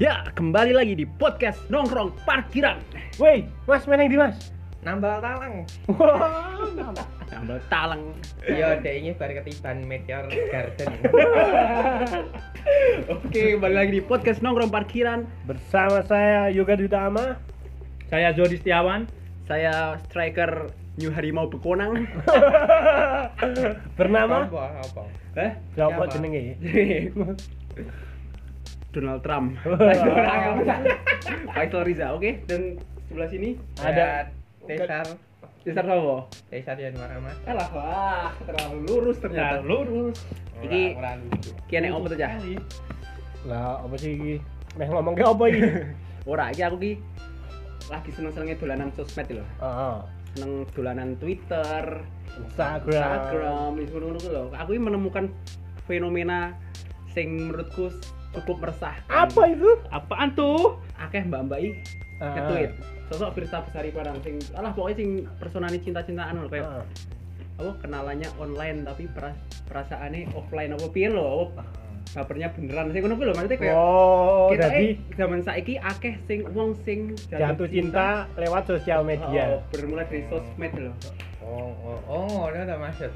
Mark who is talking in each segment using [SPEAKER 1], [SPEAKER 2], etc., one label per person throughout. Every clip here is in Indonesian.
[SPEAKER 1] Ya, kembali lagi di podcast Nongkrong Parkiran.
[SPEAKER 2] Woi, Mas meneng di Mas.
[SPEAKER 3] nambal talang
[SPEAKER 1] Nambah talang.
[SPEAKER 3] ya udah ini baru ketiban meteor garden
[SPEAKER 1] Oke, kembali lagi di podcast Nongkrong Parkiran.
[SPEAKER 2] Bersama saya Yoga Dutama.
[SPEAKER 1] Saya Jody Setiawan, saya striker New Harimau Bekonang.
[SPEAKER 2] Bernama
[SPEAKER 3] apa apa
[SPEAKER 1] Eh,
[SPEAKER 2] Siapa
[SPEAKER 3] Siapa?
[SPEAKER 2] jenenge?
[SPEAKER 1] Donald Trump. Faisal Riza, oke? Dan sebelah sini
[SPEAKER 2] Ada-
[SPEAKER 3] ada tesar
[SPEAKER 1] Cesar Sobo.
[SPEAKER 3] tesar Yanuar Ahmad
[SPEAKER 1] Alah, wah, terlalu Ya, lurus ternyata.
[SPEAKER 2] Nah, lurus.
[SPEAKER 1] Iki-
[SPEAKER 3] Ora- ora lucu.
[SPEAKER 1] Iya. Kian yang opo aja.
[SPEAKER 2] Lah, apa sih iki? Meh ngomong ke apa iki?
[SPEAKER 1] Ora, iki aku ki lagi seneng-senengnya dolanan sosmed lho.
[SPEAKER 2] Heeh.
[SPEAKER 1] Seneng dolanan Twitter,
[SPEAKER 2] Instagram.
[SPEAKER 1] Instagram, itu ngono ku lho. Aku ini menemukan fenomena sing menurutku cukup meresahkan.
[SPEAKER 2] Apa itu?
[SPEAKER 1] Apaan tuh? Akeh mbak-mbak i
[SPEAKER 2] Ah.
[SPEAKER 1] nge-tweet. Sosok Firsa Besari Padang sing alah pokoknya sing personane cinta-cintaan lho kayak
[SPEAKER 2] Heeh.
[SPEAKER 1] apa kenalannya online tapi peras perasaannya offline apa piye lho apa bapernya beneran sing ngono ku lho maksudnya kayak
[SPEAKER 2] ah. Oh,
[SPEAKER 1] kita eh,
[SPEAKER 2] jadi
[SPEAKER 1] zaman saiki akeh sing wong sing
[SPEAKER 2] jatuh cinta lewat sosial media.
[SPEAKER 1] Oh, bermula dari sosmed lho.
[SPEAKER 3] oh oh oh ngono ta maksud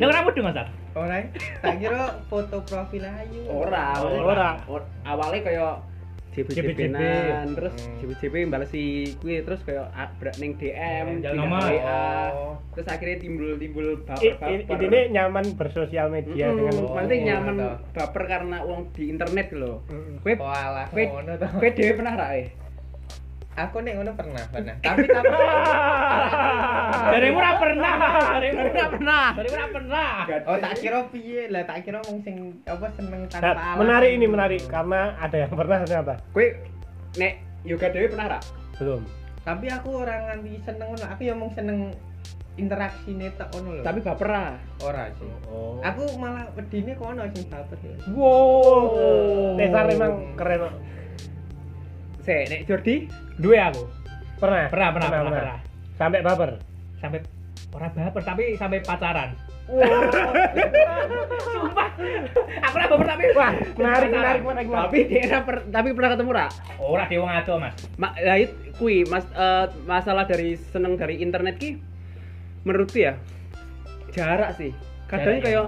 [SPEAKER 4] Lah ora mudeng, Mas. Sar?
[SPEAKER 3] ora eh. tak kira foto profil ayu
[SPEAKER 1] Ora,
[SPEAKER 2] Ora.
[SPEAKER 1] Or- Awalnya kaya
[SPEAKER 2] JBJB.
[SPEAKER 1] JBJB-an, terus
[SPEAKER 3] Hmm.
[SPEAKER 1] JBJB balas si kuwi terus kaya a- berak ning DM,
[SPEAKER 4] Hmm,
[SPEAKER 1] pindah
[SPEAKER 4] Jalan nomor.
[SPEAKER 1] ke WA.
[SPEAKER 3] Oh.
[SPEAKER 1] Terus akhirnya timbul-timbul
[SPEAKER 2] I- i-
[SPEAKER 1] baper-baper.
[SPEAKER 2] Intinya nyaman bersosial
[SPEAKER 4] iya,
[SPEAKER 2] media
[SPEAKER 1] Mm-mm,
[SPEAKER 2] dengan
[SPEAKER 3] Oh.
[SPEAKER 1] maksudnya nyaman
[SPEAKER 3] Ngono ta.
[SPEAKER 1] baper karena uang di internet lho.
[SPEAKER 2] Mm-mm.
[SPEAKER 1] Kowe
[SPEAKER 3] oh alah
[SPEAKER 1] kowe
[SPEAKER 3] ngono ta
[SPEAKER 1] kowe dhewe pernah ra eh?
[SPEAKER 3] aku nek ngono pernah pernah tapi tapi
[SPEAKER 4] Daremu Ah, ora pernah, Mas. Daremu ora pernah.
[SPEAKER 1] pernah.
[SPEAKER 4] Daremu ora pernah.
[SPEAKER 3] oh tak kira piye lah tak kira wong sing apa seneng
[SPEAKER 2] Nah,
[SPEAKER 3] tanpa alasan.
[SPEAKER 2] menarik ini menarik karena ada yang pernah ternyata
[SPEAKER 1] Kowe nek yoga dhewe pernah ra?
[SPEAKER 2] belum.
[SPEAKER 3] tapi aku orang nganti seneng ngono aku ya mung seneng interaksi netek ngono lho
[SPEAKER 1] Tapi baper ra.
[SPEAKER 3] ora sih
[SPEAKER 2] Oh.
[SPEAKER 4] Oh.
[SPEAKER 3] aku malah wedine kono sing baper ya
[SPEAKER 2] Wow. Tesar Oh. memang keren. Pak.
[SPEAKER 1] Oh. Sik, nek Jordi
[SPEAKER 4] Duwe aku.
[SPEAKER 2] Pernah?
[SPEAKER 4] Pernah, pernah, pernah, pernah.
[SPEAKER 2] Sampai baper.
[SPEAKER 4] Sampai ora baper tapi sampai pacaran. Sumpah. Aku ora baper tapi
[SPEAKER 2] Wah, menarik,
[SPEAKER 4] Pacaran.
[SPEAKER 2] menarik, menarik.
[SPEAKER 1] tapi dhewe ra per- tapi pernah ketemu ra?
[SPEAKER 4] Ora di wong ado, Mas.
[SPEAKER 1] Ma, lah it- kui mas eh, masalah dari seneng dari internet ki menurutku ya jarak sih kadang
[SPEAKER 4] Jarak, ya.
[SPEAKER 1] kayak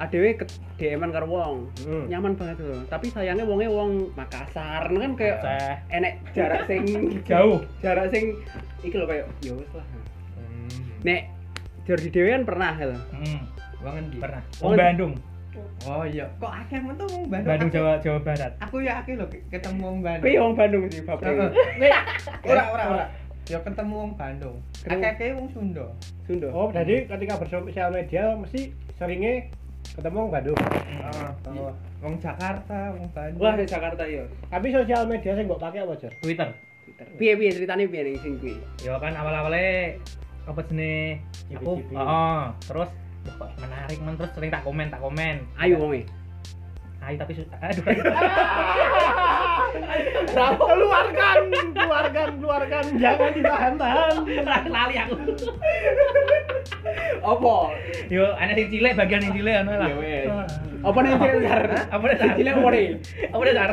[SPEAKER 1] adewe ke DM-an karo wong
[SPEAKER 2] Hmm.
[SPEAKER 1] nyaman banget loh tapi sayangnya wongnya wong Makassar kan kayak
[SPEAKER 4] Aceh.
[SPEAKER 1] enek jarak sing
[SPEAKER 4] Jauh.
[SPEAKER 1] jarak sing iki lho kayak ya wis lah nek Jordi Dewi kan pernah hal
[SPEAKER 4] Hmm,
[SPEAKER 3] wong endi
[SPEAKER 4] pernah.
[SPEAKER 1] Oh,
[SPEAKER 4] Wong Bandung,
[SPEAKER 3] oh iya kok akeh men tuh wong Bandung
[SPEAKER 4] Bandung
[SPEAKER 3] Aku-
[SPEAKER 4] Jawa Jawa Barat.
[SPEAKER 3] aku ya akeh lho ke- ketemu wong Bandung
[SPEAKER 1] tapi wong Bandung sih
[SPEAKER 3] Heeh.
[SPEAKER 1] bapak
[SPEAKER 3] Nek, ora ora ora ya ketemu wong Bandung
[SPEAKER 1] Ketemu-
[SPEAKER 3] akeh-akeh wong Sunda
[SPEAKER 1] Sunda
[SPEAKER 2] Oh, jadi ketika bersosial media mesti seringnya ketemu Bandung.
[SPEAKER 4] Eh,
[SPEAKER 3] Heeh. wong Jakarta wong Bandung
[SPEAKER 1] wah di Jakarta iya. yo
[SPEAKER 2] Tapi sosial media saya nggak pakai apa Jor?
[SPEAKER 4] Twitter.
[SPEAKER 1] piye piye ceritanya piye nih sing kui
[SPEAKER 4] Ya kan awal-awalnya apa jenis aku
[SPEAKER 2] Cibi-cibi.
[SPEAKER 4] heeh terus "Duh, kok menarik men terus sering tak komen tak komen
[SPEAKER 1] ayo wonge
[SPEAKER 4] ayo tapi susah aduh
[SPEAKER 2] Keluarkan, keluarkan, keluarkan, jangan ditahan-tahan.
[SPEAKER 4] lali aku
[SPEAKER 1] opo
[SPEAKER 4] yo ana sing cilik bagian sing cilik ana lah
[SPEAKER 1] Ya wes. Apa nih Cesar?
[SPEAKER 4] apa dah Sar?
[SPEAKER 1] Cilik apa nih?
[SPEAKER 4] apa dah sar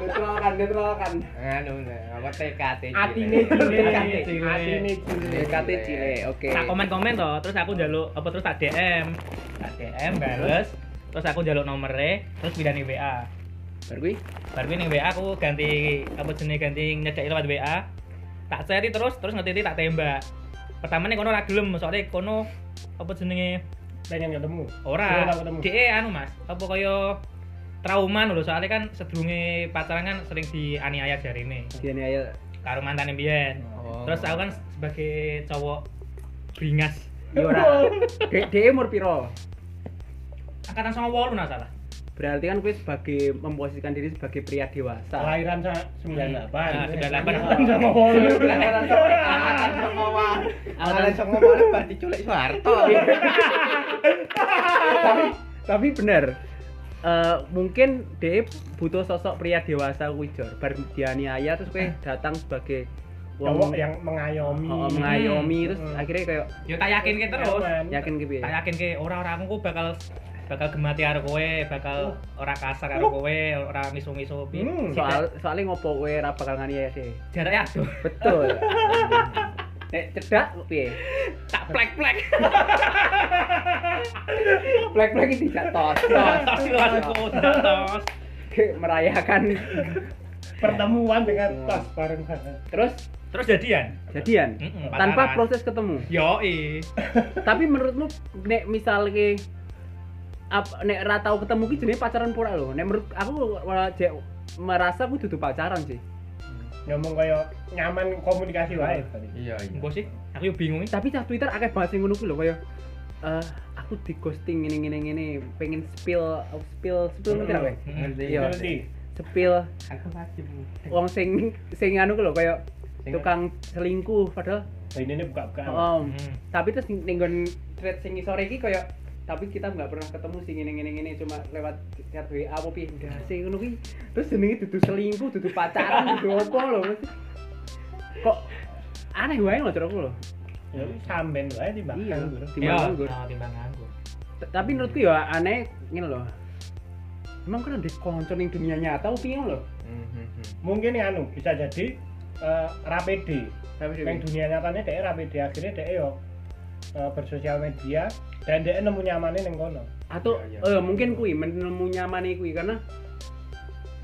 [SPEAKER 1] Netralkan, netralkan.
[SPEAKER 3] nganu nah, apa TKT
[SPEAKER 1] Atine
[SPEAKER 4] Cilik.
[SPEAKER 1] cilik. DKT cilik. Oke.
[SPEAKER 4] tak komen komen toh terus aku jaluk apa terus tak dm tak dm bales terus aku jaluk nomere terus pindah ning wa
[SPEAKER 1] Baru kui?
[SPEAKER 4] baru ning wa aku ganti apa jenis ganti nyedaki lewat wa tak cari terus terus ngetiti tak tembak pertama nih kono ra gelem soalnya kono apa jenenge
[SPEAKER 2] Pengen ketemu.
[SPEAKER 4] Ora,
[SPEAKER 2] Ora Iya, ketemu.
[SPEAKER 4] DE anu Mas, apa kaya trauma lho soalnya kan sedurunge pacaran kan sering dianiaya jarine
[SPEAKER 1] Dian ayo.
[SPEAKER 4] karo mantane biyen.
[SPEAKER 3] Oh.
[SPEAKER 4] Terus aku kan sebagai cowok beringas.
[SPEAKER 1] Yo ora. Dek dek umur piro?
[SPEAKER 4] Angkatan 98 nah salah.
[SPEAKER 1] Berarti kan kui sebagai memposisikan diri sebagai pria dewasa.
[SPEAKER 2] Kelahiran saya 98.
[SPEAKER 4] Ah, 98.
[SPEAKER 2] Sama Wolu.
[SPEAKER 3] Ala iso ngomong bar diculik Soeharto.
[SPEAKER 1] tapi tapi bener. Eh, mungkin dek butuh sosok pria dewasa kui jor. Bar dianiaya terus kui datang sebagai
[SPEAKER 2] Eh. Cowok yang mengayomi.
[SPEAKER 1] Oh, mengayomi terus
[SPEAKER 2] Hmm.
[SPEAKER 1] akhirnya kayak
[SPEAKER 4] Yo tak yakin ke terus.
[SPEAKER 2] Nyaman.
[SPEAKER 1] yakin gitu ya. ke piye?
[SPEAKER 4] Tak yakin ke ora ora aku kok bakal bakal gemati karo kowe, bakal ora kasar karo kowe, ora misu-misu. pi-
[SPEAKER 2] Hmm,
[SPEAKER 4] Tidak-
[SPEAKER 1] Oh. soal soalnya ngopo kowe ra bakal ngani ya sih
[SPEAKER 4] jaraknya aduh,
[SPEAKER 1] betul Nek cedak piye?
[SPEAKER 4] tak plek-plek.
[SPEAKER 1] Black-black ini tidak tos.
[SPEAKER 4] Tos, tos, tos, tos.
[SPEAKER 1] merayakan.
[SPEAKER 2] pertemuan dengan tas bareng bareng
[SPEAKER 1] Terus
[SPEAKER 4] Terus jadian.
[SPEAKER 1] jadian
[SPEAKER 4] Mm-mm,
[SPEAKER 1] tanpa
[SPEAKER 4] pacaran.
[SPEAKER 1] proses ketemu.
[SPEAKER 4] Yoi.
[SPEAKER 1] Tapi menurutmu nek misalnya ap, nek ra tau ketemu ki jenenge pacaran pura lho. Nek menurut aku malah jek- merasa aku dudu pacaran sih.
[SPEAKER 2] ngomong kaya nyaman komunikasi wae tadi
[SPEAKER 3] Iya, iya.
[SPEAKER 4] Mbok sih, aku yo bingung. iki.
[SPEAKER 1] Tapi cah Twitter akeh banget sing ngono ku lho kaya eh aku di ghosting ngene ngene ngene pengen spill spill spill ngerti ra kowe?
[SPEAKER 4] Mm.
[SPEAKER 1] Iya.
[SPEAKER 2] Ngerti?
[SPEAKER 1] Spill
[SPEAKER 5] aku
[SPEAKER 4] Hmm.
[SPEAKER 5] wajib
[SPEAKER 1] wong sing sing anu ku lho kaya
[SPEAKER 2] Sing-
[SPEAKER 1] tukang selingkuh padahal
[SPEAKER 2] Lah, ini ini buka-bukaan
[SPEAKER 1] oh,
[SPEAKER 4] Mm.
[SPEAKER 1] tapi terus nenggon thread sing sore iki koyo tapi kita nggak pernah ketemu sih ngene ngene ngene cuma lewat chat WA apa piye ndas sih ngono kuwi terus jenenge dudu selingkuh dudu pacaran dudu apa lho Mesti- kok aneh wae lho cara aku lho
[SPEAKER 2] ya wis sampean wae timbang
[SPEAKER 1] iya
[SPEAKER 2] nganggur
[SPEAKER 1] timbang
[SPEAKER 4] Yo,
[SPEAKER 1] nganggur.
[SPEAKER 4] oh, timbang nganggur.
[SPEAKER 1] T- tapi menurutku ya aneh ngene lho emang kan ada konco ning dunia nyata apa piye lho
[SPEAKER 3] Mhm.
[SPEAKER 2] mungkin anu bisa jadi eh, rapede
[SPEAKER 1] tapi
[SPEAKER 2] yang dunia nyatanya dia rapede akhirnya dia yo eh, bersosial media dan dia nemu nyamannya neng kono
[SPEAKER 1] atau
[SPEAKER 3] Iya,
[SPEAKER 1] eh, mungkin kui menemu nyamane kui karena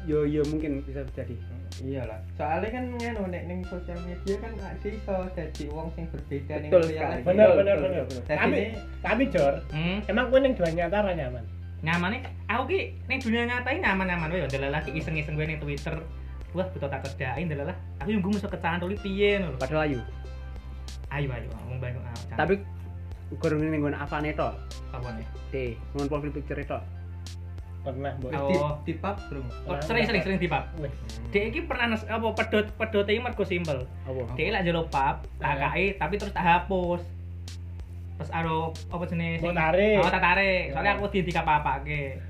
[SPEAKER 1] yo yo mungkin bisa terjadi
[SPEAKER 3] Iya lah.
[SPEAKER 5] soalnya kan nganu nek ning sosial media kan ada iso jadi wong sing berbeda ning real
[SPEAKER 1] Betul sekali.
[SPEAKER 5] life.
[SPEAKER 2] bener
[SPEAKER 1] Betul,
[SPEAKER 2] bener
[SPEAKER 1] betul.
[SPEAKER 2] bener, bener.
[SPEAKER 5] Jadi
[SPEAKER 2] tapi
[SPEAKER 5] ini-
[SPEAKER 2] tapi jor
[SPEAKER 4] Hmm.
[SPEAKER 2] emang gue neng dua nyata ra nyaman
[SPEAKER 4] nyamannya aku ki ning dunia nyata ini nyaman-nyaman wae ndelalah ki iseng-iseng gue ning Twitter wah butuh tak kerjain ndelalah aku yang gue mesti kecantol iki piye ngono lho
[SPEAKER 1] padahal ayu
[SPEAKER 4] ayo ayo ngomong banyak ah, cantol.
[SPEAKER 1] tapi kurang ini nggon apane to
[SPEAKER 4] apa nih
[SPEAKER 1] deh ngon profil picture itu
[SPEAKER 2] pernah mbok
[SPEAKER 4] Oh.
[SPEAKER 5] di di pub bro
[SPEAKER 4] oh, sering sering sering di pub
[SPEAKER 2] Wih,
[SPEAKER 4] dia iki pernah nes, apa pedot pedot iki mergo simpel
[SPEAKER 1] apa
[SPEAKER 4] dia lak jero pub tak
[SPEAKER 2] Iya.
[SPEAKER 4] kai tapi terus tak hapus terus aro apa jenis
[SPEAKER 2] Mbok tarik.
[SPEAKER 4] oh tak tarik soalnya aku di tiga apa ke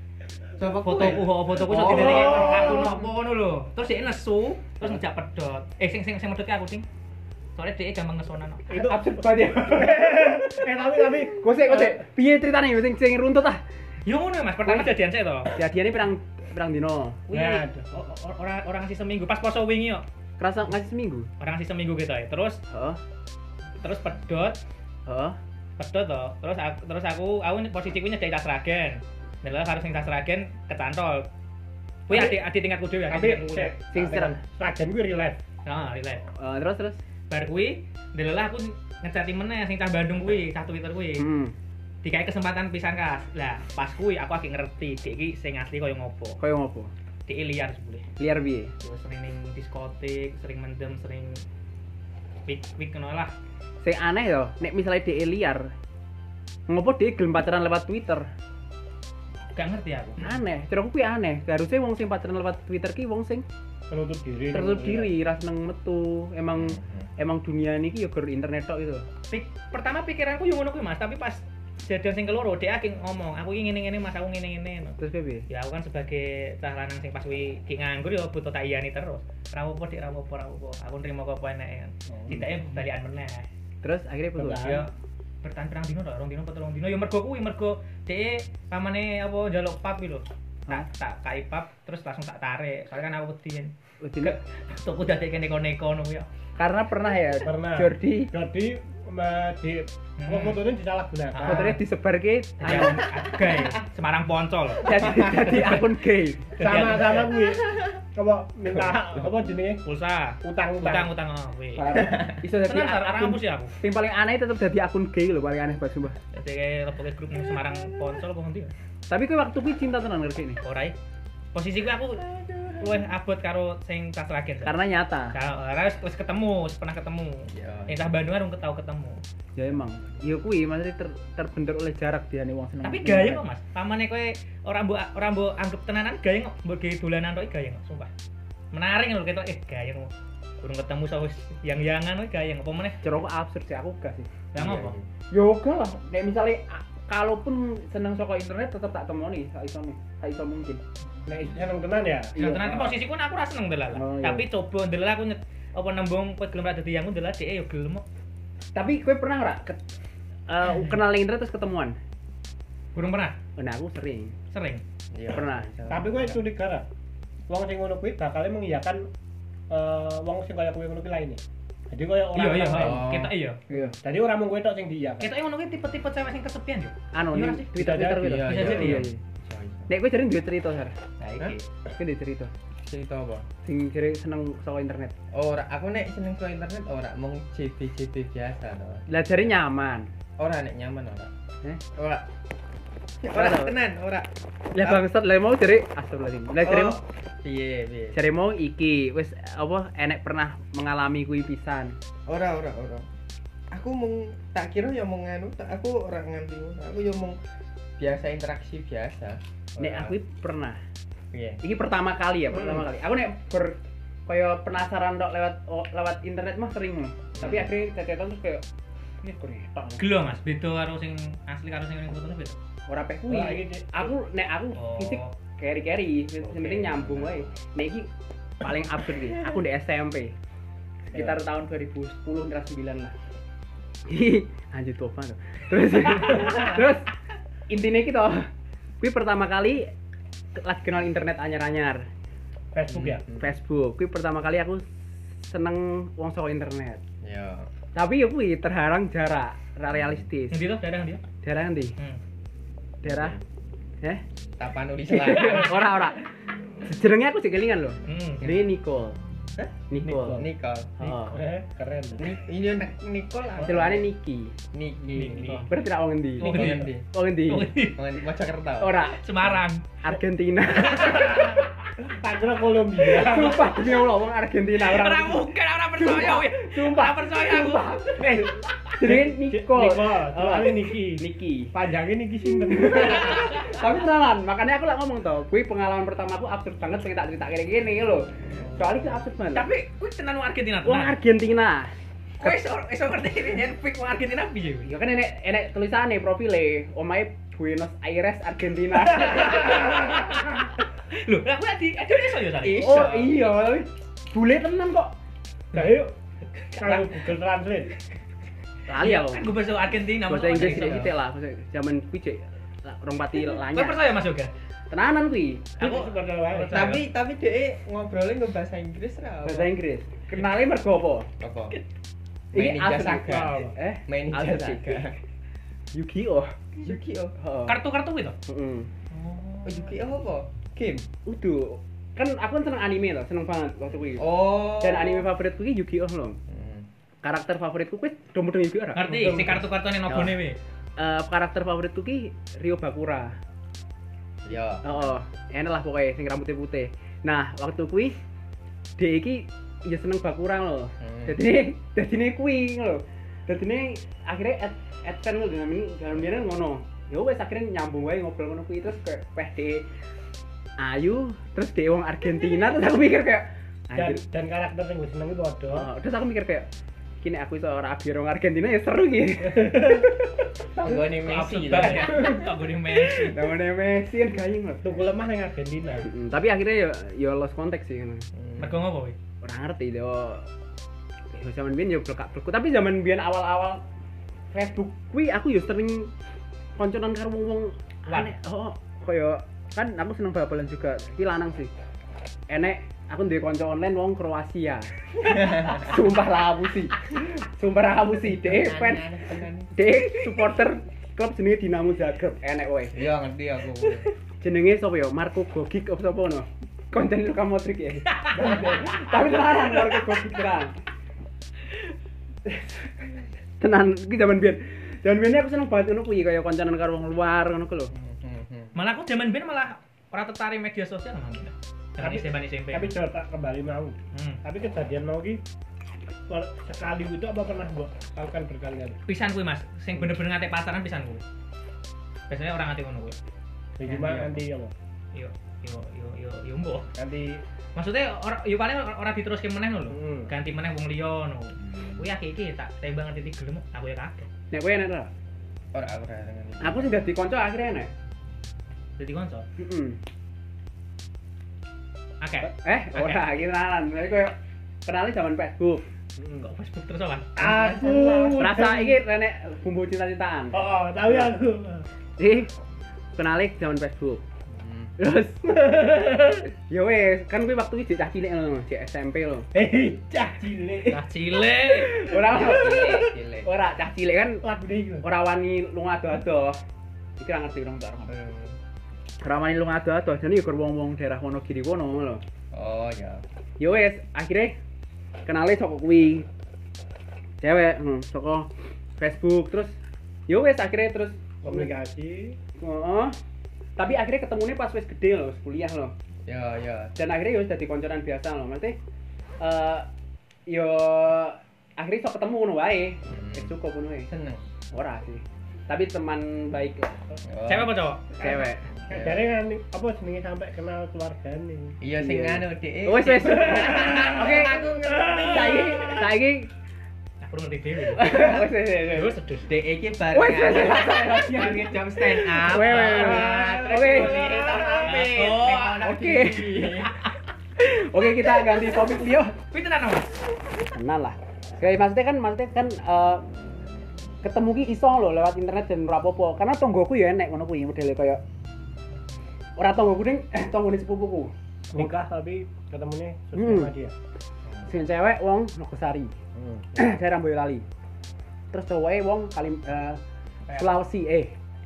[SPEAKER 5] coba
[SPEAKER 4] fotoku ho fotoku sok
[SPEAKER 5] Oh.
[SPEAKER 4] dene aku nopo ya? ngono lho. Terus dia nesu, terus ngejak pedot. Eh sing sing sing medhot ki aku sing. Soalnya dia gampang ngesonan. no.
[SPEAKER 2] itu
[SPEAKER 1] absurd banget ya
[SPEAKER 2] eh tapi tapi
[SPEAKER 4] Iya,
[SPEAKER 1] gosek gosek piye ceritanya sing sing runtut ah
[SPEAKER 4] Yo ngono Mas, pertama jadian saya to.
[SPEAKER 1] jadiannya pirang pirang dino
[SPEAKER 4] Wih,
[SPEAKER 2] Nah, aduh.
[SPEAKER 4] o- o- o- orang orang ngasih seminggu pas poso wingi yo.
[SPEAKER 1] kerasa ngasih seminggu
[SPEAKER 4] Orang ngasih seminggu gitu ya. Terus
[SPEAKER 1] heeh
[SPEAKER 4] terus pedot,
[SPEAKER 1] heeh
[SPEAKER 4] pedot to. Terus aku terus aku aku posisi ku nyedai tas ragen. Dan lah harus sing tas ragen kecantol. Kuwi
[SPEAKER 2] Tapi-
[SPEAKER 4] adik adik tingkatku dhewe,
[SPEAKER 2] tapi
[SPEAKER 4] adik tingkatku. dhewe.
[SPEAKER 1] Sing
[SPEAKER 2] sing
[SPEAKER 1] serang.
[SPEAKER 2] seragen gue relate
[SPEAKER 4] Nah, relax.
[SPEAKER 1] Eh, terus terus
[SPEAKER 4] Bar kuwi ndelalah aku ngecati meneh sing cah Bandung kuwi, cah Twitter kuwi.
[SPEAKER 1] hmm
[SPEAKER 4] dikai kesempatan pisan kas lah pas kui aku akhir ngerti dek iki sing asli koyo ngopo
[SPEAKER 1] koyo ngopo
[SPEAKER 4] dek iki liar sebule
[SPEAKER 1] liar piye
[SPEAKER 4] yo sering ning diskotik sering mendem sering wik wik kenal lah
[SPEAKER 1] sing aneh yo nek misalnya dia liar ngopo dia gelem pacaran lewat Twitter
[SPEAKER 4] gak ngerti aku
[SPEAKER 1] aneh cara aku kuwi aneh harusnya wong sing pacaran lewat Twitter ki wong sing
[SPEAKER 2] menutup
[SPEAKER 4] Iya,
[SPEAKER 2] diri Hmm.
[SPEAKER 1] tertutup diri ras neng metu emang emang dunia niki yo ger internet tok gitu
[SPEAKER 4] Pik, pertama pikiranku yo ngono kuwi mas tapi pas jadian sing keloro dek akhir ngomong aku iki ngene ngene mas aku ngene ngene no.
[SPEAKER 1] terus piye
[SPEAKER 4] ya aku kan sebagai cah lanang sing pas kuwi ki nganggur yo butuh tak iyani terus ra opo dek ra opo ra opo aku nrimo kok apa enek kan cintanya balikan meneh
[SPEAKER 1] terus akhirnya putus
[SPEAKER 2] Putus.
[SPEAKER 4] ya bertahan pirang dino tok, rong dino apa telung dino ya mergo kuwi mergo dhek pamane apa njaluk pap iki lho. Tak tak kai pap terus langsung tak tarik. Soalnya kan aku wedi kan.
[SPEAKER 1] Udine-
[SPEAKER 4] Tuku dadi kene neko-neko ngono ya.
[SPEAKER 1] Oh, karena pernah ya
[SPEAKER 2] Pernah.
[SPEAKER 1] Jordi
[SPEAKER 2] jadi ma- di
[SPEAKER 4] Hmm.
[SPEAKER 2] fotonya disalahgunakan
[SPEAKER 4] Ah.
[SPEAKER 1] fotonya disebar ke anu,
[SPEAKER 4] Jadi aku gay Semarang Poncol.
[SPEAKER 1] jadi jadi akun gay
[SPEAKER 4] Iya.
[SPEAKER 2] sama sama gue apa minta apa jenenge
[SPEAKER 4] Pulsa.
[SPEAKER 2] utang utang
[SPEAKER 4] Utang-utang oh kuwi.
[SPEAKER 1] bisa jadi
[SPEAKER 4] Tenan sak
[SPEAKER 1] akun
[SPEAKER 4] kampus ya aku.
[SPEAKER 1] yang paling aneh tetap jadi akun gay loh paling aneh banget sumpah
[SPEAKER 4] Dadi kayak lepoke grup ning Semarang Poncol apa ngendi. ya?
[SPEAKER 1] tapi kue waktu kue cinta tenan ngerti nih
[SPEAKER 4] Ora eh. Posisi kuwi aku luwih abot karo sing tas lagi.
[SPEAKER 1] karena nyata
[SPEAKER 4] karena wis wis ketemu, wis pernah ketemu.
[SPEAKER 3] Iya.
[SPEAKER 4] Yang cah Bandung kan ketau ketemu.
[SPEAKER 1] ya emang ya kue maksudnya ter, terbentur oleh jarak dia nih wong seneng
[SPEAKER 4] tapi
[SPEAKER 1] seneng
[SPEAKER 4] gaya kok
[SPEAKER 1] jarak.
[SPEAKER 4] mas pamane kowe ora mbok ora mbok anggap tenanan gaya kok mbok gawe dolanan tok gaya kok sumpah menarik lho ketok eh gaya kok kurang ketemu sama yang-yangan kowe gaya apa meneh
[SPEAKER 1] Cara aku gitu. absurd sih aku gak sih
[SPEAKER 2] Iya,
[SPEAKER 4] lah ngopo
[SPEAKER 1] yoga Ya lah nek misalnya a- kalaupun seneng soko internet tetap tak temoni tak iso nih tak iso mungkin
[SPEAKER 2] nah itu seneng tenan ya
[SPEAKER 1] Iya.
[SPEAKER 4] tenan ki posisi ku nah, aku ora seneng delala
[SPEAKER 1] Oh, iya.
[SPEAKER 4] tapi coba delala aku nyet- apa nembung kowe gelem ra dadi yang delala dhek eh, yo gelem kok
[SPEAKER 1] tapi kue pernah nggak ke, eh, kenal link internet terus ketemuan
[SPEAKER 4] Burung pernah?
[SPEAKER 1] Nah, aku sering.
[SPEAKER 4] Sering.
[SPEAKER 1] iya, Pernah.
[SPEAKER 2] Tapi gue curiga lah. Wong sing ngono kuwi bakal mengiyakan eh wong sing kaya kowe ngono kuwi lainnya. Jadi kaya
[SPEAKER 1] Oh,
[SPEAKER 2] orang
[SPEAKER 4] Iya iya.
[SPEAKER 2] lain.
[SPEAKER 4] iya. Kita iya.
[SPEAKER 3] Iya.
[SPEAKER 2] Jadi orang mung kowe tok sing diiyakan.
[SPEAKER 4] Kita yang ngono kuwi tipe-tipe cewek sing kesepian yo.
[SPEAKER 1] Anu,
[SPEAKER 4] Iya
[SPEAKER 1] ning
[SPEAKER 4] sih.
[SPEAKER 1] Twitter
[SPEAKER 2] Bisa
[SPEAKER 1] Twitter
[SPEAKER 2] jadi,
[SPEAKER 1] gitu.
[SPEAKER 3] iya,
[SPEAKER 4] iya.
[SPEAKER 1] Iya, iya. Nek gue sering duwe cerita, Sar.
[SPEAKER 4] Nah,
[SPEAKER 3] Hah?
[SPEAKER 4] iki.
[SPEAKER 1] Gue duwe cerita.
[SPEAKER 3] Cerita apa?
[SPEAKER 1] Sing jere seneng soal internet.
[SPEAKER 3] Ora, aku nek seneng ke internet ora mung JB-JB biasa to.
[SPEAKER 1] Lah jare nyaman.
[SPEAKER 3] Ora nek nyaman ora.
[SPEAKER 1] Eh?
[SPEAKER 3] Ora.
[SPEAKER 1] Ora
[SPEAKER 3] Ora
[SPEAKER 1] tau.
[SPEAKER 3] tenan, ora.
[SPEAKER 1] Lah bangsat, lah mau jere astagfirullahaladzim. Lah jere
[SPEAKER 3] Oh, Piye, piye.
[SPEAKER 1] jare mau iki wis apa enek pernah mengalami kuwi pisan.
[SPEAKER 3] Ora, ora, ora. Aku mung tak kira ya mung anu, tak- aku ora nganti ngono. Aku ya mung biasa interaksi biasa. Ora.
[SPEAKER 1] Nek aku pernah.
[SPEAKER 3] piye?
[SPEAKER 1] Iki pertama kali ya, pertama
[SPEAKER 3] Hmm.
[SPEAKER 1] kali. Aku nek ber kaya penasaran tok lewat o- lewat internet mah sering. Tapi
[SPEAKER 3] Hmm.
[SPEAKER 1] akhirnya tetetan terus kayak ini kok ngetok.
[SPEAKER 4] Gelo Mas, beda karo sing asli karo sing ning fotonya beda.
[SPEAKER 1] Ora pek kuwi.
[SPEAKER 2] Ora iki Cik.
[SPEAKER 1] Aku nek aku
[SPEAKER 4] Oh.
[SPEAKER 1] fisik carry-carry, yang
[SPEAKER 3] Oke.
[SPEAKER 1] penting nyambung wae. Nek iki paling absurd iki. Aku di SMP. Sekitar
[SPEAKER 3] Ya.
[SPEAKER 1] tahun 2010 antara 9 lah. Anjir tua banget. Terus terus intinya gitu. Kuwi pertama kali lagi kenal internet anyar-anyar.
[SPEAKER 2] Facebook ya.
[SPEAKER 3] Hmm.
[SPEAKER 1] Facebook. Kuwi pertama kali aku seneng wong saka internet.
[SPEAKER 3] Ya.
[SPEAKER 1] Tapi ya kuwi terhalang jarak, ra realistis.
[SPEAKER 4] Ngendi to daerah ngendi? to?
[SPEAKER 1] Daerah nanti,
[SPEAKER 4] Hmm.
[SPEAKER 1] daerah eh
[SPEAKER 3] Tapan nulis lah.
[SPEAKER 1] ora ora. Jenenge aku sik kelingan lho.
[SPEAKER 4] Hmm.
[SPEAKER 1] Jenenge Nicole.
[SPEAKER 3] Heh?
[SPEAKER 1] Nicole.
[SPEAKER 3] Nikol.
[SPEAKER 1] Oh.
[SPEAKER 4] Hmm.
[SPEAKER 2] Eh, keren.
[SPEAKER 3] Ni ini nak Nikol. apa?
[SPEAKER 1] Celukane Niki.
[SPEAKER 3] Niki. Niki.
[SPEAKER 2] Nikol.
[SPEAKER 1] Berarti ra wong endi?
[SPEAKER 4] Wong
[SPEAKER 3] Niki.
[SPEAKER 4] endi?
[SPEAKER 3] Niki.
[SPEAKER 1] Wong endi?
[SPEAKER 3] Niki. Mojokerto.
[SPEAKER 1] Ora,
[SPEAKER 4] Oh, iya. Semarang.
[SPEAKER 1] Argentina.
[SPEAKER 2] Tak kira Kolombia.
[SPEAKER 1] Sumpah demi Allah wong Argentina ora.
[SPEAKER 4] Ora mungkin ora percaya kowe.
[SPEAKER 1] Sumpah.
[SPEAKER 4] Ora percaya aku.
[SPEAKER 1] Sumpah. Eh, jenenge Nicole.
[SPEAKER 2] Soalnya Niki.
[SPEAKER 1] Niki.
[SPEAKER 2] Panjangnya Niki sinten?
[SPEAKER 1] tapi tenanan makanya aku lah ngomong tau gue pengalaman pertama aku absurd banget sing tak cerita kayak gini loh soalnya itu absurd banget Nah.
[SPEAKER 4] Tapi kuwi tenan wong Argentina.
[SPEAKER 1] uang
[SPEAKER 4] tenan.
[SPEAKER 1] Argentina
[SPEAKER 4] Kowe iso iso ngerti yen pick wong Argentina piye kowe?
[SPEAKER 1] ya kan enek enek tulisannya profile omae Buenos Aires Argentina
[SPEAKER 4] Lho, lah kuwi di Indonesia iso ya sari.
[SPEAKER 1] oh iya tapi bule tenan kok
[SPEAKER 2] Nah, yuk. Kalau Google Translate.
[SPEAKER 1] lali aku
[SPEAKER 4] Kan gue bahasa Argentina.
[SPEAKER 1] bahasa
[SPEAKER 4] mau
[SPEAKER 1] Inggris
[SPEAKER 4] iso.
[SPEAKER 1] sithik sithik lah bahasa zaman kuwi cek rong pati
[SPEAKER 4] Kowe
[SPEAKER 1] lanyar
[SPEAKER 4] percaya Mas Yoga?
[SPEAKER 1] tenanan kuwi
[SPEAKER 4] Aku
[SPEAKER 2] Aku sebentar wae.
[SPEAKER 4] percaya.
[SPEAKER 3] Tapi tapi dhek ngobrolnya nggo bahasa Inggris ra. apa?
[SPEAKER 1] bahasa Inggris kenalnya mergo apa
[SPEAKER 3] Apa?
[SPEAKER 1] ini
[SPEAKER 3] Main
[SPEAKER 1] asli
[SPEAKER 3] Ninja Saga.
[SPEAKER 1] eh
[SPEAKER 3] Main
[SPEAKER 1] Asli.
[SPEAKER 3] Saga.
[SPEAKER 1] Yugi oh
[SPEAKER 3] Yuki oh.
[SPEAKER 4] Kartu-kartu kuwi to.
[SPEAKER 1] Heeh.
[SPEAKER 3] Oh, Yuki oh apa? Game.
[SPEAKER 1] Udah, kan aku kan seneng anime loh, seneng banget waktu kuwi.
[SPEAKER 3] Oh. Hmm.
[SPEAKER 1] Dan anime favoritku ki Yu-Gi-Oh loh. Karakter favoritku kuwi domodong Yu-Gi-Oh. ra?
[SPEAKER 4] Ngerti si kartu-kartu ning
[SPEAKER 2] Ya.
[SPEAKER 4] nobone kuwi.
[SPEAKER 1] Eh, karakter favoritku ki Ryo Bakura.
[SPEAKER 3] Ya.
[SPEAKER 1] Oh, oh. enak lah pokoknya sing rambutnya putih. Nah, waktu kuwi dia iki ya seneng Bakura loh.
[SPEAKER 3] Hmm.
[SPEAKER 1] Jadi jadi ini kuwi loh. Jadi ini akhirnya ad advent loh dalam ini dalam dia ngono. Ya wes akhirnya nyambung wae ngobrol ngono kuwi terus kayak peh de Ayu, terus dia wong Argentina terus aku mikir kayak
[SPEAKER 2] Dan
[SPEAKER 1] anjir.
[SPEAKER 2] dan karakter yang gue seneng itu
[SPEAKER 1] Oh,
[SPEAKER 2] ada.
[SPEAKER 1] terus aku mikir kayak kini aku iso ora abdi orang Argentina ya seru gitu.
[SPEAKER 3] Tanggone Messi
[SPEAKER 4] Absurd
[SPEAKER 3] lah.
[SPEAKER 4] banget ya. Kok gue Messi.
[SPEAKER 1] Namanya Messi kan gayeng loh.
[SPEAKER 2] Tunggu lemah yang Argentina.
[SPEAKER 1] Mm, Tapi akhirnya ya ya lost konteks sih kan.
[SPEAKER 3] Hmm.
[SPEAKER 4] Mergo ngopo kuwi?
[SPEAKER 1] Ora ngerti yo. Yo zaman biyen yo blekak-blekku, tapi zaman biyen awal-awal Facebook kuwi aku yo sering konconan karo wong-wong
[SPEAKER 4] Lan.
[SPEAKER 1] aneh. Oh, kaya kan aku seneng bal-balan juga. Iki lanang sih. Enek aku duwe kanca online wong Kroasia. Sumpah lah aku sih. Sumpah lah aku sih. Dek fans Dek supporter klub jenenge Dinamo Zagreb. Enek woy
[SPEAKER 3] Iya ngerti aku.
[SPEAKER 1] Jenenge sapa ya? Marco Gogic apa sapa ngono? Konten Luka Modric ya. Tapi tenan Marco Gogic tenan. Tenan iki zaman biyen. Zaman biyen aku seneng banget ngono kuwi kaya kancanan karo wong luar ngono ku lho.
[SPEAKER 3] Hmm,
[SPEAKER 4] Malah aku zaman biyen malah ora tertarik media sosial malah. Tapi
[SPEAKER 2] Tapi-
[SPEAKER 4] SMP SMP.
[SPEAKER 2] Tapi jauh tak kembali mau.
[SPEAKER 4] Hmm.
[SPEAKER 2] Tapi kejadian mau ki per- sekali itu apa pernah gua lakukan berkali-kali. Ya,
[SPEAKER 4] pisan kuwi Mas, sing bener-bener ngate pasaran pisan kuwi. Biasanya orang ngate ngono kuwi.
[SPEAKER 2] Ya, Gimana nanti ya, Bang?
[SPEAKER 4] Yo yo yo yo yo mbok.
[SPEAKER 2] nanti
[SPEAKER 4] Maksudnya ora yo paling ora ora diteruske meneh lho.
[SPEAKER 2] Hmm.
[SPEAKER 4] Ganti meneh wong liya ngono. Kuwi akeh iki tak tembang ngerti tiga gelem aku ya kaget.
[SPEAKER 1] Nek kowe enak ta?
[SPEAKER 3] Ora aku ora ngerti.
[SPEAKER 1] Aku sing dadi kanca akhirnya enak.
[SPEAKER 4] Dadi konco.
[SPEAKER 1] Heeh.
[SPEAKER 4] Akeh.
[SPEAKER 1] Eh, ora iki tenanan. Nek koyo kenali zaman Facebook.
[SPEAKER 2] Hmm.
[SPEAKER 4] Kok Facebook terus apa?
[SPEAKER 2] aku
[SPEAKER 1] Rasa iki renek bumbu cinta-cintaan.
[SPEAKER 2] Oh, oh, tahu ya aku.
[SPEAKER 1] Ih, kenalik zaman Facebook
[SPEAKER 3] Hmm.
[SPEAKER 1] terus ya wes kan gue waktu itu cah cilik loh cek SMP loh
[SPEAKER 2] Hei, Eh, cah cilik.
[SPEAKER 4] Nah, cilik.
[SPEAKER 1] ora
[SPEAKER 3] Gile.
[SPEAKER 1] ora cah cilik kan
[SPEAKER 2] Lagu deh gitu.
[SPEAKER 1] ora wani lunga ado-ado iki ra ngerti dong tak ora. ora wani lunga ado-ado jane ya gur wong-wong daerah Wonogiri kono lho
[SPEAKER 3] Oh ya.
[SPEAKER 1] ya wes akhirnya kenalnya saka kuwi cewek hmm, saka Facebook terus ya wes akhirnya terus
[SPEAKER 2] Komunikasi.
[SPEAKER 1] heeh tapi akhirnya ketemunya pas wes gede loh kuliah loh
[SPEAKER 3] Ya ya.
[SPEAKER 1] dan akhirnya ya jadi konconan biasa loh maksudnya eh yo akhirnya sok ketemu ngono wae
[SPEAKER 3] Hmm.
[SPEAKER 1] wis cukup ngono wae
[SPEAKER 3] Seneng.
[SPEAKER 1] ora sih tapi teman baik lah
[SPEAKER 3] Oh.
[SPEAKER 4] Cewek apa cowok?
[SPEAKER 1] cewek
[SPEAKER 3] Ya.
[SPEAKER 2] Jadi kan apa jenenge sampai kenal keluarga nih.
[SPEAKER 3] Iya sing
[SPEAKER 1] Iya.
[SPEAKER 3] anu dhek.
[SPEAKER 1] wes wes
[SPEAKER 3] Oke,
[SPEAKER 1] oke
[SPEAKER 3] aku ngerti.
[SPEAKER 1] saiki saiki
[SPEAKER 4] Nah, kurang ngerti dhewe.
[SPEAKER 1] wes wes wes
[SPEAKER 4] Terus terus.
[SPEAKER 3] Dhek iki
[SPEAKER 1] Wes, wes, wes.
[SPEAKER 3] bareng jam stand up.
[SPEAKER 1] Wes, wes, wes.
[SPEAKER 3] Wah, terus
[SPEAKER 1] Oke.
[SPEAKER 3] dhek tahun apik.
[SPEAKER 4] Oh,
[SPEAKER 3] Nek ono
[SPEAKER 1] oke.
[SPEAKER 3] di-
[SPEAKER 1] Oke kita ganti topik Leo.
[SPEAKER 4] Kuwi tenan Mas.
[SPEAKER 1] Kenal lah. Kayak maksudnya kan maksudnya kan eh, ketemu ki iso loh lewat internet dan ora apa-apa. Karena tonggoku ya enek ngono kuwi modele kaya ora tonggoku ning eh tonggone sepupuku.
[SPEAKER 2] Nikah tapi ketemunya
[SPEAKER 1] Hmm.
[SPEAKER 2] sama dia.
[SPEAKER 1] Sing cewek wong Nogosari,
[SPEAKER 3] Hmm,
[SPEAKER 1] daerah Boyolali. Terus cowoknya wong Kalim eh, Sulawesi eh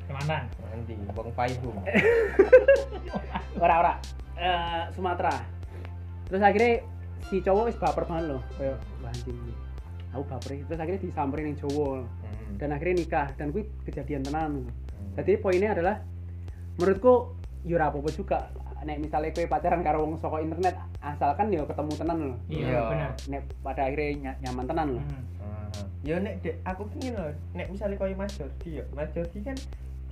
[SPEAKER 4] Kemana?
[SPEAKER 3] Nanti wong payung.
[SPEAKER 1] ora ora Eh, Sumatera. Terus akhirnya si cowok wis baper banget loh kaya wah anjing ini. Aku baper. Terus akhirnya disamperin yang cowok.
[SPEAKER 3] Hmm.
[SPEAKER 1] dan akhirnya nikah dan gue kejadian tenan jadi poinnya adalah menurutku ya ora apa-apa juga nek misalnya gue pacaran karo wong saka internet asalkan ya ketemu tenan loh
[SPEAKER 3] Iya.
[SPEAKER 4] Iya, benar.
[SPEAKER 1] nek pada akhirnya ny- nyaman tenan loh
[SPEAKER 4] Hmm.
[SPEAKER 3] Ah. Ya nek dek aku pengin lho, nek misale koyo Mas Jordi ya. Mas Jordi kan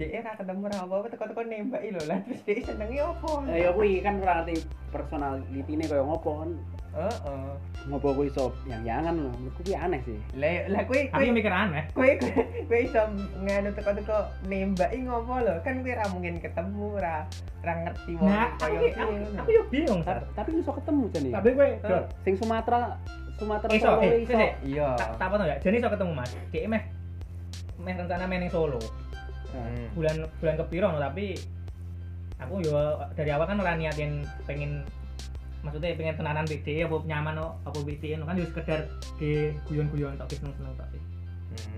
[SPEAKER 3] dek ora ketemu ora apa-apa teko-teko nembaki lho. Lah terus dek senenge opo?
[SPEAKER 1] Eh, ya gue kan ora ngerti personality ini kayak ngopo kan
[SPEAKER 3] Heeh.
[SPEAKER 1] ngopo gue iso yang jangan loh menurutku gue aneh sih
[SPEAKER 3] Lah lah kuwi
[SPEAKER 4] Tapi mikir aneh.
[SPEAKER 3] kowe kowe- kowe iso nganu teko-teko nembaki ngopo lho kan kowe ora mungkin ketemu ora ora ngerti wong
[SPEAKER 4] Nah, aku
[SPEAKER 3] koyo
[SPEAKER 4] ki- aku aku yo bingung, Sar.
[SPEAKER 1] Ta- tapi iso ketemu jadi
[SPEAKER 2] Tapi gue, Jor,
[SPEAKER 1] sing Sumatera Sumatera
[SPEAKER 4] Iso,
[SPEAKER 1] Solo
[SPEAKER 4] eh,
[SPEAKER 1] iso
[SPEAKER 4] sini.
[SPEAKER 3] iya
[SPEAKER 4] Tak tak potong ya. Jadi iso ketemu Mas. Dhek meh meh rencana main ning Solo.
[SPEAKER 3] Hmm.
[SPEAKER 4] bulan bulan kepiro no, tapi aku yo dari awal kan ora niatin pengen maksudnya pengen tenanan BD apa nyaman no, apa BD no. kan yo sekedar di guyon-guyon tok seneng-seneng tok sih.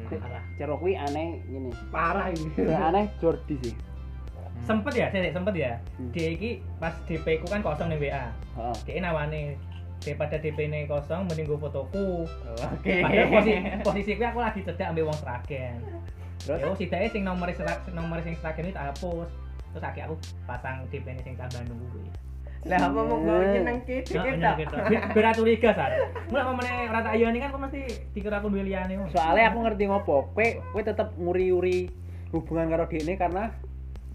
[SPEAKER 3] Hmm.
[SPEAKER 4] parah
[SPEAKER 1] Cero gue aneh gini
[SPEAKER 2] parah ini.
[SPEAKER 1] aneh Jordi sih
[SPEAKER 4] sempet ya saya sempet ya
[SPEAKER 1] Hmm.
[SPEAKER 4] dia iki pas DP ku kan kosong nih WA
[SPEAKER 1] Heeh.
[SPEAKER 4] dia nawane daripada DP ini kosong mending gue fotoku
[SPEAKER 3] oke
[SPEAKER 4] padahal posisi posisi gue aku lagi cedak ambil uang seragen
[SPEAKER 1] Terus?
[SPEAKER 4] terus sidaknya Ya sing nomor serak nomor sing seragen itu tak hapus terus akhirnya aku pasang DP ini sing tambah nunggu gue
[SPEAKER 3] lah apa mau
[SPEAKER 1] Hmm.
[SPEAKER 3] ngomongin nang kene
[SPEAKER 4] Nah,
[SPEAKER 3] kita
[SPEAKER 4] bener gitu. Bi- Biar curiga, Sar. Mulai momennya rata ayo ini kan kok mesti dikira aku duwe liyane. Mas.
[SPEAKER 1] soalnya aku ngerti ngopo kue kue tetep nguri-uri hubungan karo dia karena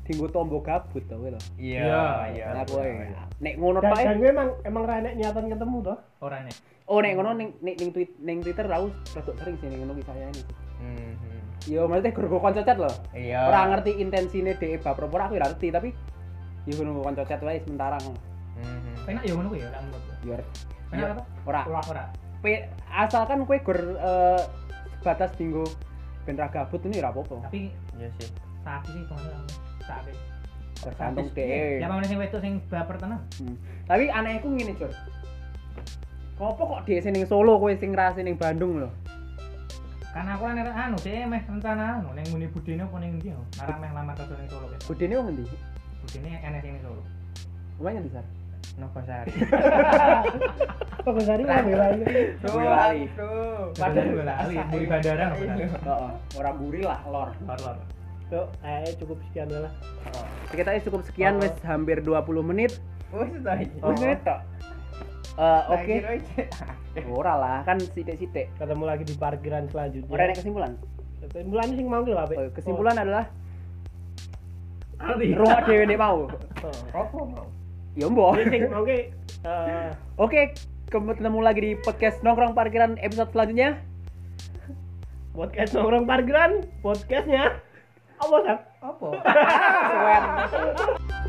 [SPEAKER 1] tinggu tombol gabut tau lho
[SPEAKER 3] iya iya
[SPEAKER 1] nah kue nek ngono
[SPEAKER 2] Dan, dan
[SPEAKER 1] pae
[SPEAKER 2] gue emang emang rane niatan ketemu toh.
[SPEAKER 4] orangnya.
[SPEAKER 1] oh nek ngono ning ning ning tweet ning twitter aku rada sering sih ning ngono kisahnya ini
[SPEAKER 3] Hmm, hmm.
[SPEAKER 1] yo maksudnya gur gue konco chat lho
[SPEAKER 3] iya
[SPEAKER 1] ora ngerti intensine dhek baper apa ora, aku ya ora ngerti tapi yo gur gue konco chat wae sementara ngono
[SPEAKER 3] Hmm.
[SPEAKER 4] Enak ya ngono kuwi ya lek menurutku.
[SPEAKER 1] yo Iya.
[SPEAKER 4] Enak apa?
[SPEAKER 1] ora
[SPEAKER 4] Ora ora.
[SPEAKER 1] Pe- asalkan kue gur eh, sebatas tinggu bentra gabut ini ora apa-apa
[SPEAKER 4] Tapi
[SPEAKER 3] iya sih
[SPEAKER 4] saat ini kok ora. Saat ini.
[SPEAKER 1] tergantung
[SPEAKER 4] Saat ini.
[SPEAKER 1] dhek
[SPEAKER 4] Ya mana sing wedok sing baper tenan.
[SPEAKER 1] Tapi anehku ngene, Jur. Kopo kok dhek sing ning Solo kowe sing ngrasi ning Bandung lho.
[SPEAKER 4] Karena aku kan anu dhewe meh rencana anu ning ngene budine apa ning ndi. oh? no? Arah meh lamar kerja ning Solo guys.
[SPEAKER 1] Budene wong endi?
[SPEAKER 4] Budine enek sing ning Solo.
[SPEAKER 1] Kowe ngendi, Sar?
[SPEAKER 3] nopo sari
[SPEAKER 2] Kok gue sari kan bela ini.
[SPEAKER 3] bro
[SPEAKER 1] Gue lali.
[SPEAKER 3] bro
[SPEAKER 4] Padahal gue lali di bandara no benar.
[SPEAKER 1] Heeh. Ora buri lah lor.
[SPEAKER 4] Lor-lor.
[SPEAKER 2] Yo, eh cukup sekian dulu lah.
[SPEAKER 1] Kita cukup sekian
[SPEAKER 2] Oh.
[SPEAKER 1] wis hampir 20 menit.
[SPEAKER 3] wis ta iki
[SPEAKER 1] Wis
[SPEAKER 2] Oh.
[SPEAKER 1] ngetok. Eh oke. Ora lah, kan sithik-sithik.
[SPEAKER 2] Ketemu lagi di parkiran selanjutnya.
[SPEAKER 1] Ora nek kesimpulan.
[SPEAKER 2] Kesimpulan sing mau ki lho, Pak.
[SPEAKER 1] Eh, Kesimpulan adalah
[SPEAKER 2] Arti.
[SPEAKER 1] rumah dhewe nek mau.
[SPEAKER 2] Oh.
[SPEAKER 3] opo mau
[SPEAKER 1] Ya mbok.
[SPEAKER 2] Jadi sing mau ki eh
[SPEAKER 1] Oke, ketemu lagi di podcast Nongkrong Parkiran episode selanjutnya.
[SPEAKER 2] podcast nongkrong parkiran, podcastnya apa Sar?
[SPEAKER 3] opo
[SPEAKER 1] Sewen.